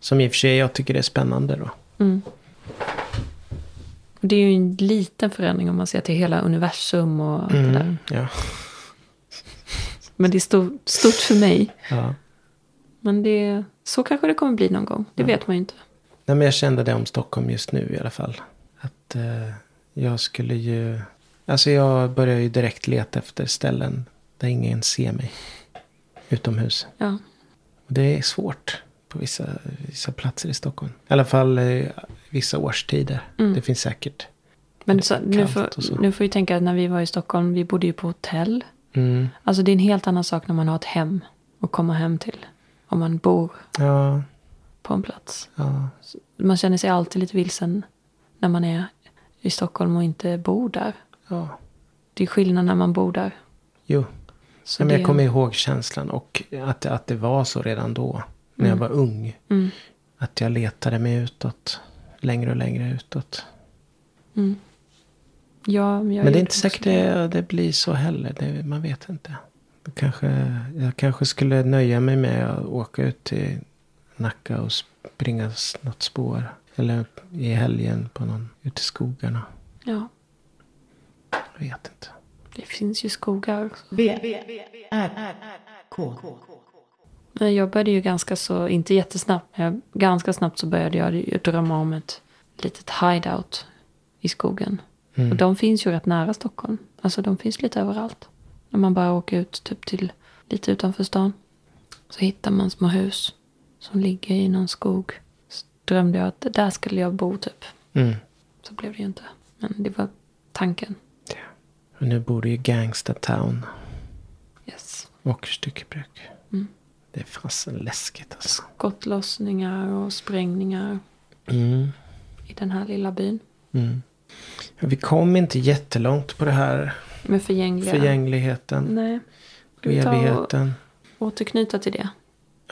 [SPEAKER 2] som i och för sig jag tycker är spännande då.
[SPEAKER 3] Det är ju en liten förändring om man ser till hela universum och allt
[SPEAKER 2] Mm.
[SPEAKER 3] det där.
[SPEAKER 2] Ja.
[SPEAKER 3] Men det är stor, stort för mig.
[SPEAKER 2] ja.
[SPEAKER 3] Men det, så kanske det kommer bli någon gång. Det vet man ju inte.
[SPEAKER 2] Nej, men jag kände det om Stockholm just nu i alla fall. Att eh, jag skulle ju... Alltså jag börjar ju direkt leta efter ställen där ingen ser mig. Utomhus.
[SPEAKER 3] Ja.
[SPEAKER 2] Och det är svårt på vissa, vissa platser i Stockholm. I alla fall eh, vissa årstider.
[SPEAKER 3] Mm.
[SPEAKER 2] Det finns säkert.
[SPEAKER 3] Men så, nu,
[SPEAKER 2] kallt
[SPEAKER 3] får,
[SPEAKER 2] och så.
[SPEAKER 3] nu får vi tänka att när vi var i Stockholm, vi bodde ju på hotell.
[SPEAKER 2] Mm.
[SPEAKER 3] Alltså det är en helt annan sak när man har ett hem att komma hem till. Om man bor
[SPEAKER 2] Ja,
[SPEAKER 3] på en plats.
[SPEAKER 2] ja.
[SPEAKER 3] Man känner sig alltid lite vilsen när man är i Stockholm och inte bor där.
[SPEAKER 2] ja.
[SPEAKER 3] Det är skillnad när man bor där.
[SPEAKER 2] Jo.
[SPEAKER 3] Så
[SPEAKER 2] Ja, men
[SPEAKER 3] det-
[SPEAKER 2] jag kommer ihåg känslan och att, det- att det var så redan då. När jag var ung.
[SPEAKER 3] Mm.
[SPEAKER 2] Att jag letade mig utåt. Längre och längre utåt.
[SPEAKER 3] ja, jag
[SPEAKER 2] Men det
[SPEAKER 3] gjorde
[SPEAKER 2] är inte
[SPEAKER 3] också
[SPEAKER 2] säkert det, det blir så heller. Det, man vet inte. Då Kanske, jag kanske skulle nöja mig med att åka ut till Nacka och springa s- något spår. Eller i helgen på någon ute i skogarna.
[SPEAKER 3] Ja,
[SPEAKER 2] Jag vet inte.
[SPEAKER 3] det finns ju skogar.
[SPEAKER 1] V, R, K.
[SPEAKER 3] Men Jag började ju ganska så, inte jättesnabbt, men jag, ganska snabbt så började jag ju drömma om ett litet hideout i skogen. Och de finns ju rätt nära Stockholm. Alltså de finns lite överallt. När man bara åker ut typ till lite utanför stan. Så hittar man små hus som ligger i någon skog. Så drömde jag att där skulle jag bo typ.
[SPEAKER 2] Mm.
[SPEAKER 3] Så blev det ju inte. Men det var tanken.
[SPEAKER 2] Och nu bor du i Gangsta Town.
[SPEAKER 3] Yes.
[SPEAKER 2] Och styckebruk.
[SPEAKER 3] Mm.
[SPEAKER 2] Det är fasen läskigt alltså.
[SPEAKER 3] Skottlossningar och sprängningar
[SPEAKER 2] Mm.
[SPEAKER 3] i den här lilla byn.
[SPEAKER 2] Mm. Ja, Vi kom inte jättelångt på det här.
[SPEAKER 3] Med förgängliga...
[SPEAKER 2] Förgängligheten.
[SPEAKER 3] Nej. Ska
[SPEAKER 2] Och
[SPEAKER 3] vi ta och
[SPEAKER 2] evigheten.
[SPEAKER 3] återknyta till det?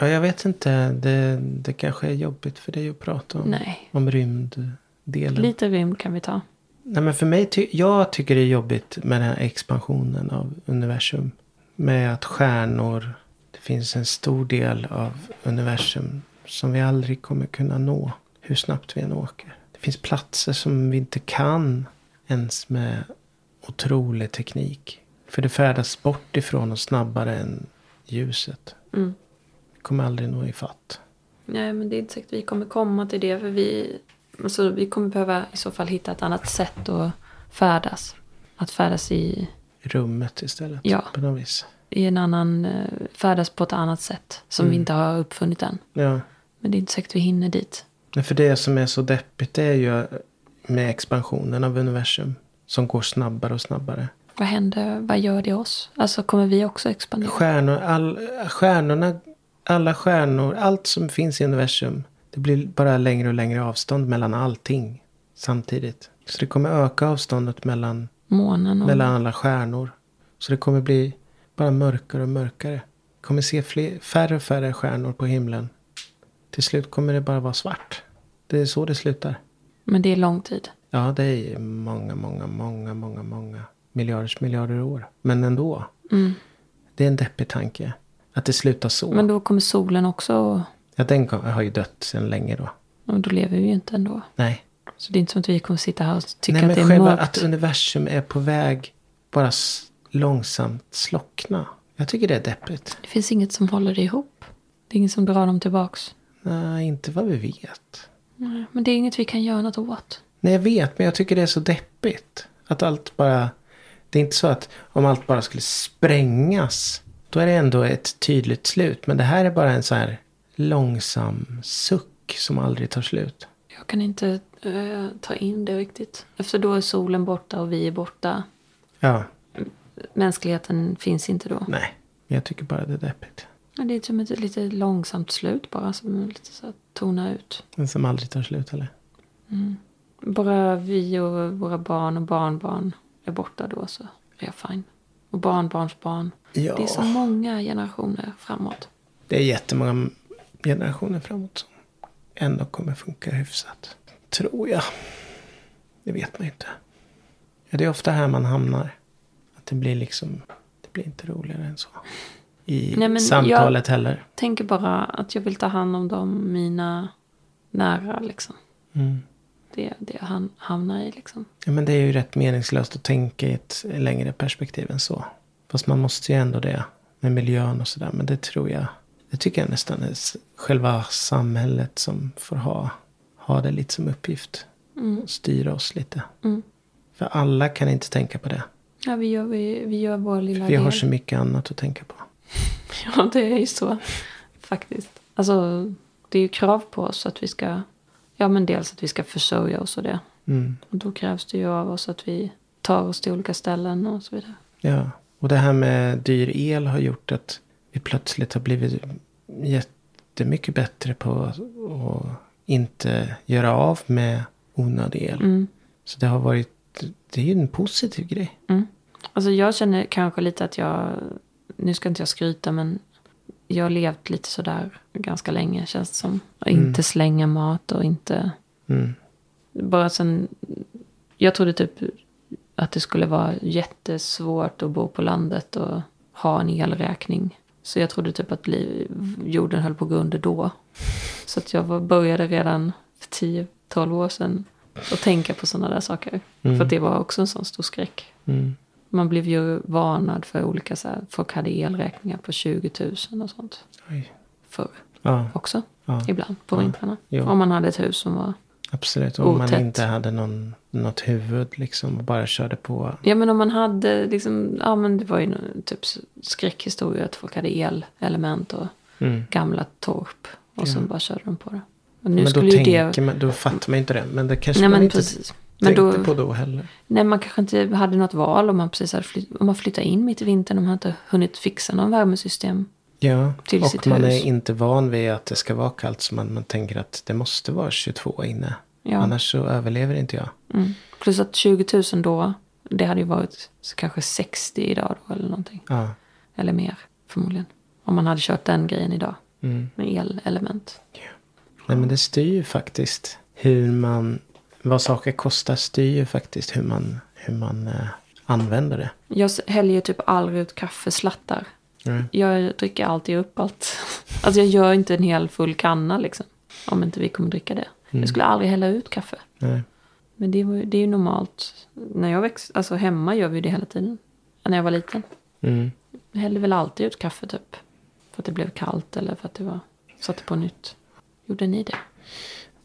[SPEAKER 2] Ja, jag vet inte. Det, det kanske är jobbigt för dig att prata om.
[SPEAKER 3] Nej.
[SPEAKER 2] Om rymddelen.
[SPEAKER 3] Lite rymd kan vi ta.
[SPEAKER 2] Nej, men för mig ty- jag tycker det är jobbigt med den här expansionen av universum. Med att stjärnor, det finns en stor del av universum som vi aldrig kommer kunna nå. Hur snabbt vi än åker. Det finns platser som vi inte kan ens med otrolig teknik. För det färdas bort ifrån oss snabbare än ljuset.
[SPEAKER 3] Mm.
[SPEAKER 2] Vi kommer aldrig nå ifatt.
[SPEAKER 3] Nej, men det är inte säkert vi kommer komma till det. För vi, alltså, vi kommer behöva i så fall hitta ett annat sätt att färdas. Att färdas i,
[SPEAKER 2] Rummet istället.
[SPEAKER 3] Ja.
[SPEAKER 2] På något vis.
[SPEAKER 3] i en annan... eh, Färdas på ett annat sätt. Som
[SPEAKER 2] Mm.
[SPEAKER 3] vi inte har uppfunnit än.
[SPEAKER 2] Ja.
[SPEAKER 3] Men det är inte säkert vi hinner dit.
[SPEAKER 2] Nej, för det som är så deppigt det är ju med expansionen av universum. Som går snabbare och snabbare.
[SPEAKER 3] Vad händer? Vad gör det oss? Alltså kommer vi också expandera?
[SPEAKER 2] Stjärnor, all, stjärnorna, alla stjärnor, allt som finns i universum. Det blir bara längre och längre avstånd mellan allting samtidigt. Så det kommer öka avståndet mellan,
[SPEAKER 3] Månen och...
[SPEAKER 2] mellan alla stjärnor. Så det kommer bli bara mörkare och mörkare. Vi kommer se fler, färre och färre stjärnor på himlen. Till slut kommer det bara vara svart. Det är så det slutar.
[SPEAKER 3] Men det är lång tid.
[SPEAKER 2] Ja, det är många, många, många, många, många miljarders miljarder år. Men ändå. Det är en deppig tanke. Att det slutar så.
[SPEAKER 3] Mm. Men då kommer solen också och,
[SPEAKER 2] Ja, den kom- har ju dött sedan länge då.
[SPEAKER 3] och då lever vi ju inte ändå.
[SPEAKER 2] Nej.
[SPEAKER 3] Så det är inte som att vi kommer sitta här och tycka
[SPEAKER 2] Nej, men
[SPEAKER 3] att det är
[SPEAKER 2] själva
[SPEAKER 3] mörkt.
[SPEAKER 2] att universum är på väg bara s- långsamt slockna. Jag tycker det är deppigt.
[SPEAKER 3] Det finns inget som håller det ihop. Det är ingen som drar dem tillbaks.
[SPEAKER 2] Nej, inte vad vi vet.
[SPEAKER 3] Nej, Men det är inget vi kan göra något åt.
[SPEAKER 2] Nej, jag vet, men jag tycker det är så deppigt. Att allt bara... Det är inte så att om allt bara skulle sprängas, då är det ändå ett tydligt slut. Men det här är bara en så här långsam suck som aldrig tar slut.
[SPEAKER 3] Jag kan inte eh, ta in det riktigt. Efter då är solen borta och vi är borta.
[SPEAKER 2] Ja,
[SPEAKER 3] Mänskligheten finns inte då.
[SPEAKER 2] nej. Men jag tycker bara det är deppigt.
[SPEAKER 3] Men det är som ett lite långsamt slut bara som lite så här tonar ut.
[SPEAKER 2] Den som aldrig tar slut, eller?
[SPEAKER 3] Bara vi och våra barn och barnbarn är borta då så är jag fine. Och barnbarnsbarn.
[SPEAKER 2] Ja.
[SPEAKER 3] Det är så många generationer framåt.
[SPEAKER 2] Det är jättemånga generationer framåt som ändå kommer funka hyfsat. Tror jag. Det vet man ju inte. Ja, det är ofta här man hamnar. Att det blir liksom... Det blir inte roligare än så. I
[SPEAKER 3] Nej, men
[SPEAKER 2] samtalet heller.
[SPEAKER 3] Tänker bara att jag vill ta hand om dem, mina nära liksom.
[SPEAKER 2] Mm.
[SPEAKER 3] Det är det jag ham- hamnar i liksom.
[SPEAKER 2] Ja, men det är ju rätt meningslöst att tänka i ett längre perspektiv än så. Fast man måste ju ändå det. Med miljön och sådär. Men det tror jag. Det tycker jag nästan är s- själva samhället som får ha, ha det lite som uppgift. Styra oss lite.
[SPEAKER 3] Mm.
[SPEAKER 2] För alla kan inte tänka på det.
[SPEAKER 3] Ja, vi gör, vi, vi gör vår lilla
[SPEAKER 2] Vi har
[SPEAKER 3] del.
[SPEAKER 2] så mycket annat att tänka på.
[SPEAKER 3] Ja, det är ju så faktiskt. Alltså, det är ju krav på oss att vi ska... Ja, men dels att vi ska försörja oss och det.
[SPEAKER 2] Mm.
[SPEAKER 3] Och då krävs det ju av oss att vi tar oss till olika ställen och så vidare.
[SPEAKER 2] Ja. Och det här med dyr el har gjort att vi plötsligt har blivit jättemycket bättre på att att inte göra av med onödig el.
[SPEAKER 3] Mm.
[SPEAKER 2] Så det har varit, det är ju en positiv grej.
[SPEAKER 3] Mm. Alltså jag känner kanske lite att jag, nu ska inte jag skryta men jag har levt lite sådär ganska länge känns det som. Och inte slänga mat och inte,
[SPEAKER 2] Mm.
[SPEAKER 3] bara sen, jag trodde typ att det skulle vara jättesvårt att bo på landet och ha en elräkning. Så jag trodde typ att liv, jorden höll på att gå under då. Så att jag var, började redan för 10-12 år sedan att tänka på sådana där saker. För att det var också en sån stor skräck.
[SPEAKER 2] Mm.
[SPEAKER 3] Man blev ju varnad för olika så här, folk hade elräkningar på 20 000 och sånt
[SPEAKER 2] Oj.
[SPEAKER 3] förr
[SPEAKER 2] Ja,
[SPEAKER 3] också.
[SPEAKER 2] ja,
[SPEAKER 3] Ibland på
[SPEAKER 2] Ja.
[SPEAKER 3] vintrarna.
[SPEAKER 2] Jo.
[SPEAKER 3] Om man hade ett hus som var...
[SPEAKER 2] absolut. Om man
[SPEAKER 3] Otätt.
[SPEAKER 2] inte hade någon, något huvud liksom och bara körde på.
[SPEAKER 3] Ja men om man hade liksom, ja men det var ju någon typ skräckhistoria att folk hade elelement och
[SPEAKER 2] Mm.
[SPEAKER 3] gamla torp. Och så bara körde de på det. Och nu
[SPEAKER 2] men då
[SPEAKER 3] skulle ju
[SPEAKER 2] tänker
[SPEAKER 3] det...
[SPEAKER 2] man, då fattar man ju inte det. Men det kanske
[SPEAKER 3] Nej
[SPEAKER 2] man
[SPEAKER 3] men
[SPEAKER 2] inte
[SPEAKER 3] precis. Men
[SPEAKER 2] tänkte
[SPEAKER 3] då,
[SPEAKER 2] på då heller.
[SPEAKER 3] nej, man kanske inte hade något val om man precis hade flytt, om man flyttade in mitt i vintern. Om man inte hunnit fixa någon värmesystem.
[SPEAKER 2] Ja,
[SPEAKER 3] till
[SPEAKER 2] och
[SPEAKER 3] sitt
[SPEAKER 2] man
[SPEAKER 3] hus.
[SPEAKER 2] är inte van vid att det ska vara kallt. Så man, man tänker att det måste vara 22 inne.
[SPEAKER 3] Ja.
[SPEAKER 2] Annars så överlever inte jag.
[SPEAKER 3] Mm. Plus att 20 000 då, det hade ju varit så kanske 60 idag då eller någonting.
[SPEAKER 2] Ja,
[SPEAKER 3] Eller mer förmodligen. Om man hade köpt den grejen idag.
[SPEAKER 2] Mm.
[SPEAKER 3] Med elelement.
[SPEAKER 2] Nej, men det styr ju faktiskt hur man... Vad saker kostar styr ju faktiskt hur man, hur man eh, använder det.
[SPEAKER 3] Jag s- häller ju typ aldrig ut kaffeslattar.
[SPEAKER 2] Mm.
[SPEAKER 3] Jag dricker alltid upp allt. Alltså jag gör inte en hel full kanna liksom. Om inte vi kommer dricka det. Jag skulle aldrig hälla ut kaffe.
[SPEAKER 2] Nej.
[SPEAKER 3] Men det, var, ju- det är ju normalt. När jag växte, alltså hemma gör vi ju det hela tiden. När jag var liten.
[SPEAKER 2] Mm.
[SPEAKER 3] Jag hällde väl alltid ut kaffe typ. För att det blev kallt eller för att det var... Satte på nytt. Gjorde ni det?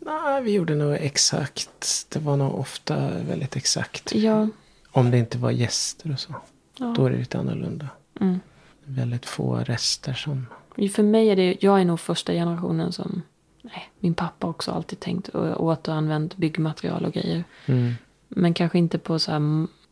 [SPEAKER 2] Nej, vi gjorde nog exakt. Det var nog ofta väldigt exakt.
[SPEAKER 3] Ja.
[SPEAKER 2] Om det inte var gäster och så.
[SPEAKER 3] Ja.
[SPEAKER 2] Då är det lite annorlunda.
[SPEAKER 3] Mm.
[SPEAKER 2] Väldigt få rester som...
[SPEAKER 3] För mig är det... Jag är nog första generationen som... Nej, min pappa har också alltid tänkt och återanvänt byggmaterial och grejer.
[SPEAKER 2] Mm.
[SPEAKER 3] Men kanske inte på så här...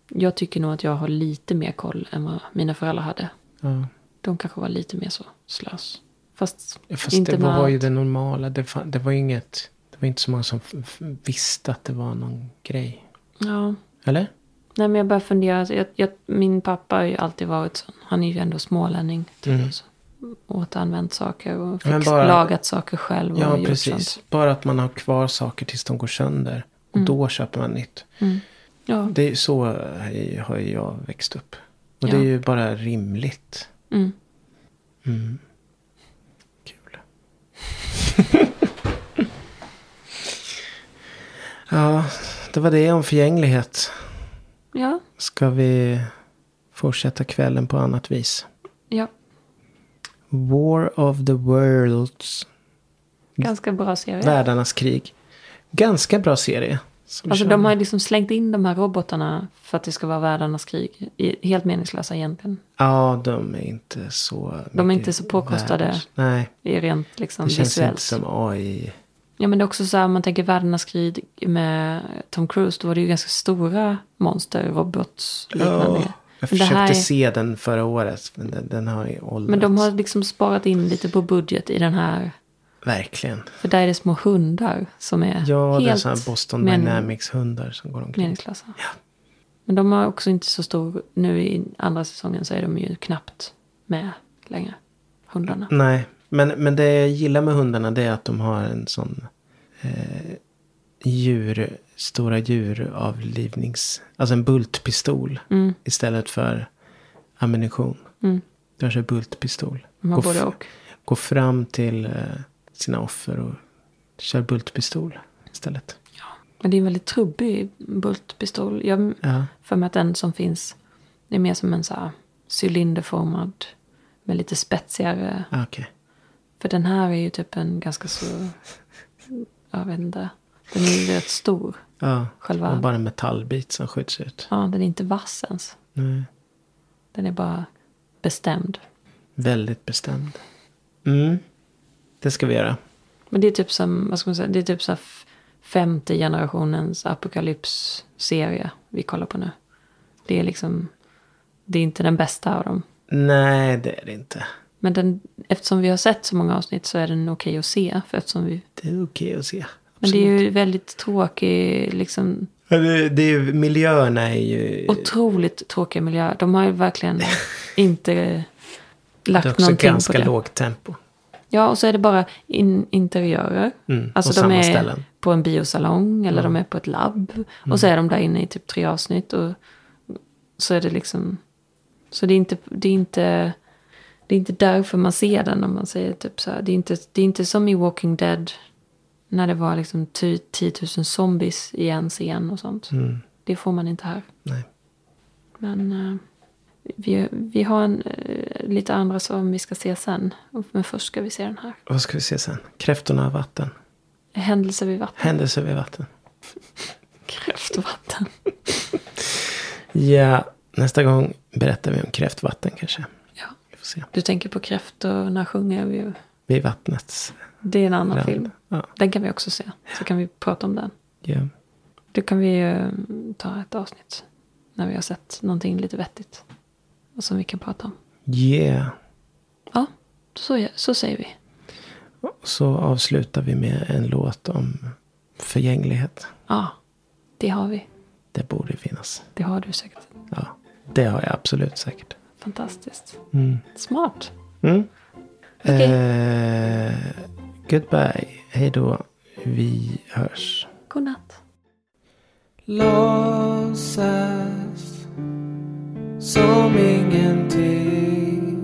[SPEAKER 3] Jag tycker nog att jag har lite mer koll än vad mina föräldrar hade.
[SPEAKER 2] Ja.
[SPEAKER 3] De kanske var lite mer så slös. Fast,
[SPEAKER 2] Fast
[SPEAKER 3] inte
[SPEAKER 2] det
[SPEAKER 3] med
[SPEAKER 2] var ju
[SPEAKER 3] allt.
[SPEAKER 2] det normala. Det, fa- det var ju inget... Det var inte så många som f- f- visste att det var någon grej.
[SPEAKER 3] Ja.
[SPEAKER 2] Eller?
[SPEAKER 3] Nej men jag börjar fundera. Alltså, Jag, jag, min pappa har ju alltid varit sån. Han är ju ändå smålänning. Typ,
[SPEAKER 2] Mm.
[SPEAKER 3] och så. Återanvänt saker och
[SPEAKER 2] Men
[SPEAKER 3] fix,
[SPEAKER 2] bara-
[SPEAKER 3] lagat saker själv. Och
[SPEAKER 2] Ja,
[SPEAKER 3] gjort
[SPEAKER 2] precis.
[SPEAKER 3] Sånt. Mm.
[SPEAKER 2] Bara att man har kvar saker tills de går sönder. Och då köper man nytt.
[SPEAKER 3] Ja.
[SPEAKER 2] Det är ju så eh, har ju jag växt upp. Och
[SPEAKER 3] Ja.
[SPEAKER 2] det är ju bara rimligt.
[SPEAKER 3] Mm.
[SPEAKER 2] Mm. Kul. ja, det var det om förgänglighet.
[SPEAKER 3] Ja,
[SPEAKER 2] Ska vi fortsätta kvällen på annat vis?
[SPEAKER 3] ja,
[SPEAKER 2] War of the Worlds.
[SPEAKER 3] ganska bra serie.
[SPEAKER 2] Världarnas krig. Ganska bra serie. Som
[SPEAKER 3] Alltså
[SPEAKER 2] kör-
[SPEAKER 3] de har ju liksom slängt in de här robotarna för att det ska vara världarnas krig. I- Helt meningslösa egentligen.
[SPEAKER 2] Ja, de är inte så...
[SPEAKER 3] De är
[SPEAKER 2] mycket
[SPEAKER 3] inte så påkostade
[SPEAKER 2] världs- Nej,
[SPEAKER 3] I Rent liksom
[SPEAKER 2] det känns
[SPEAKER 3] visuellt.
[SPEAKER 2] inte som AI.
[SPEAKER 3] Ja men det är också så här, om man tänker världarnas krig med Tom Cruise. Då var det ju ganska stora monster, robotliknande.
[SPEAKER 2] jag
[SPEAKER 3] Men det
[SPEAKER 2] försökte
[SPEAKER 3] här är-
[SPEAKER 2] se den förra året, men den, den har ju åldrats.
[SPEAKER 3] Men de har liksom sparat in lite på budget i den här.
[SPEAKER 2] Verkligen.
[SPEAKER 3] För där är det små hundar som är
[SPEAKER 2] Ja, det är
[SPEAKER 3] helt
[SPEAKER 2] sådana här Boston
[SPEAKER 3] men-
[SPEAKER 2] Dynamics-hundar som går omkring.
[SPEAKER 3] meningslösa. Men de har också inte så stor, nu i andra säsongen så är de ju knappt med längre. Hundarna.
[SPEAKER 2] Nej, men, men det jag gillar med hundarna det är att de har en sån eh, djur, stora djuravlivnings, alltså en bultpistol
[SPEAKER 3] Mm.
[SPEAKER 2] istället för ammunition.
[SPEAKER 3] Mm.
[SPEAKER 2] De har så här bultpistol.
[SPEAKER 3] De har
[SPEAKER 2] Går
[SPEAKER 3] både
[SPEAKER 2] f-
[SPEAKER 3] och.
[SPEAKER 2] Går fram till eh, sina offer och kör bultpistol istället.
[SPEAKER 3] Men det är en väldigt trubbig bultpistol. Jag har
[SPEAKER 2] Ja,
[SPEAKER 3] för mig att den som finns det är mer som en så här cylinderformad med lite spetsigare.
[SPEAKER 2] ah, okej.
[SPEAKER 3] För den här är ju typ en ganska så, jag vet inte. Den är ju rätt stor.
[SPEAKER 2] Ja,
[SPEAKER 3] Själva,
[SPEAKER 2] det var bara en metallbit som skjuts ut.
[SPEAKER 3] ja den är inte vass ens.
[SPEAKER 2] Nej.
[SPEAKER 3] Den är bara bestämd.
[SPEAKER 2] Väldigt bestämd. Mm. Det ska vi göra.
[SPEAKER 3] Men det är typ som, vad ska man säga, det är typ så här f- femte generationens apokalypsserie vi kollar på nu. Det är liksom, det är inte den bästa av dem.
[SPEAKER 2] Nej, det är det inte.
[SPEAKER 3] Men den, eftersom vi har sett så många avsnitt så är den okej att se. För eftersom vi,
[SPEAKER 2] Det är okej att se.
[SPEAKER 3] men det är ju väldigt tråkig, liksom
[SPEAKER 2] Ja, Det, det är ju, miljöerna är ju...
[SPEAKER 3] otroligt tråkig miljö. De har ju verkligen inte
[SPEAKER 2] det är
[SPEAKER 3] lagt
[SPEAKER 2] också
[SPEAKER 3] någonting på
[SPEAKER 2] ganska
[SPEAKER 3] det.
[SPEAKER 2] lågt tempo.
[SPEAKER 3] Ja, och så är det bara in, interiörer.
[SPEAKER 2] Mm, och
[SPEAKER 3] Alltså de
[SPEAKER 2] samma
[SPEAKER 3] är
[SPEAKER 2] ställen. Mm.
[SPEAKER 3] på en biosalong eller de är på ett labb. Och så är de där inne i typ tre avsnitt. Och så är det liksom... Så det är inte... Det är inte, det är inte därför man ser den om man säger typ så här. Det är inte, det är inte som i Walking Dead. När det var liksom ty- 10 000 zombies i en scen och sånt. Det får man inte här.
[SPEAKER 2] Mm. Nej.
[SPEAKER 3] Men eh, vi, vi har en, eh, lite andra som vi ska se sen. Men först ska vi se den här.
[SPEAKER 2] Vad ska vi se sen? Kräftorna och vatten.
[SPEAKER 3] Händelser vid vatten.
[SPEAKER 2] Händelser vid vatten.
[SPEAKER 3] Kräftvatten.
[SPEAKER 2] Ja, nästa gång berättar vi om kräftvatten kanske.
[SPEAKER 3] Ja.
[SPEAKER 2] Vi får se.
[SPEAKER 3] Du tänker på kräftorna sjunger vi ju.
[SPEAKER 2] Vid vattnets
[SPEAKER 3] Det är en annan
[SPEAKER 2] rand.
[SPEAKER 3] film.
[SPEAKER 2] Ja,
[SPEAKER 3] Den kan vi också se. Så kan vi prata om den.
[SPEAKER 2] ja.
[SPEAKER 3] Då kan vi eh, ta ett avsnitt. När vi har sett någonting lite vettigt. Och som vi kan prata om.
[SPEAKER 2] Yeah.
[SPEAKER 3] Ja, så, gör- så säger vi.
[SPEAKER 2] Så avslutar vi med en låt om förgänglighet.
[SPEAKER 3] Ja, det har vi.
[SPEAKER 2] Det borde finnas.
[SPEAKER 3] Det har du säkert.
[SPEAKER 2] Ja, det har jag absolut säkert.
[SPEAKER 3] Fantastiskt.
[SPEAKER 2] Mm.
[SPEAKER 3] Smart.
[SPEAKER 2] Mm.
[SPEAKER 3] Okej.
[SPEAKER 2] Eh, goodbye. Hej då. Vi hörs.
[SPEAKER 3] Godnatt.
[SPEAKER 2] Låtsas som ingenting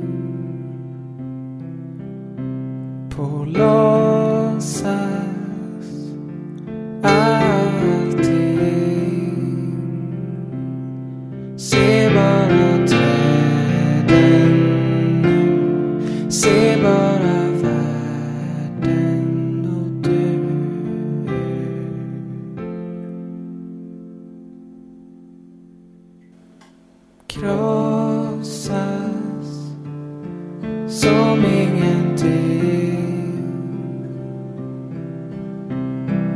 [SPEAKER 2] På låtsas allting Se bara träden Se bara världen och du krossas som ingenting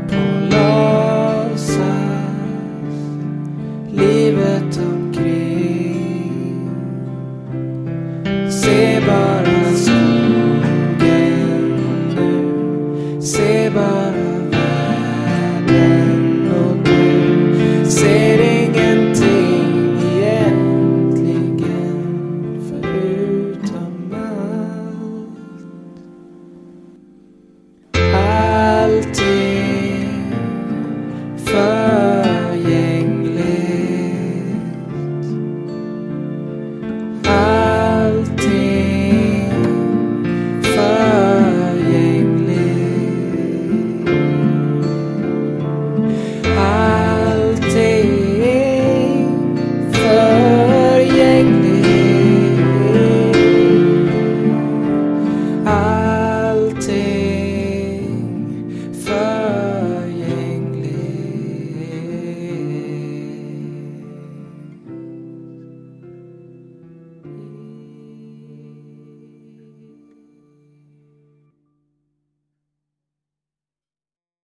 [SPEAKER 2] På låtsas livet omkring Se bara skogen nu Se bara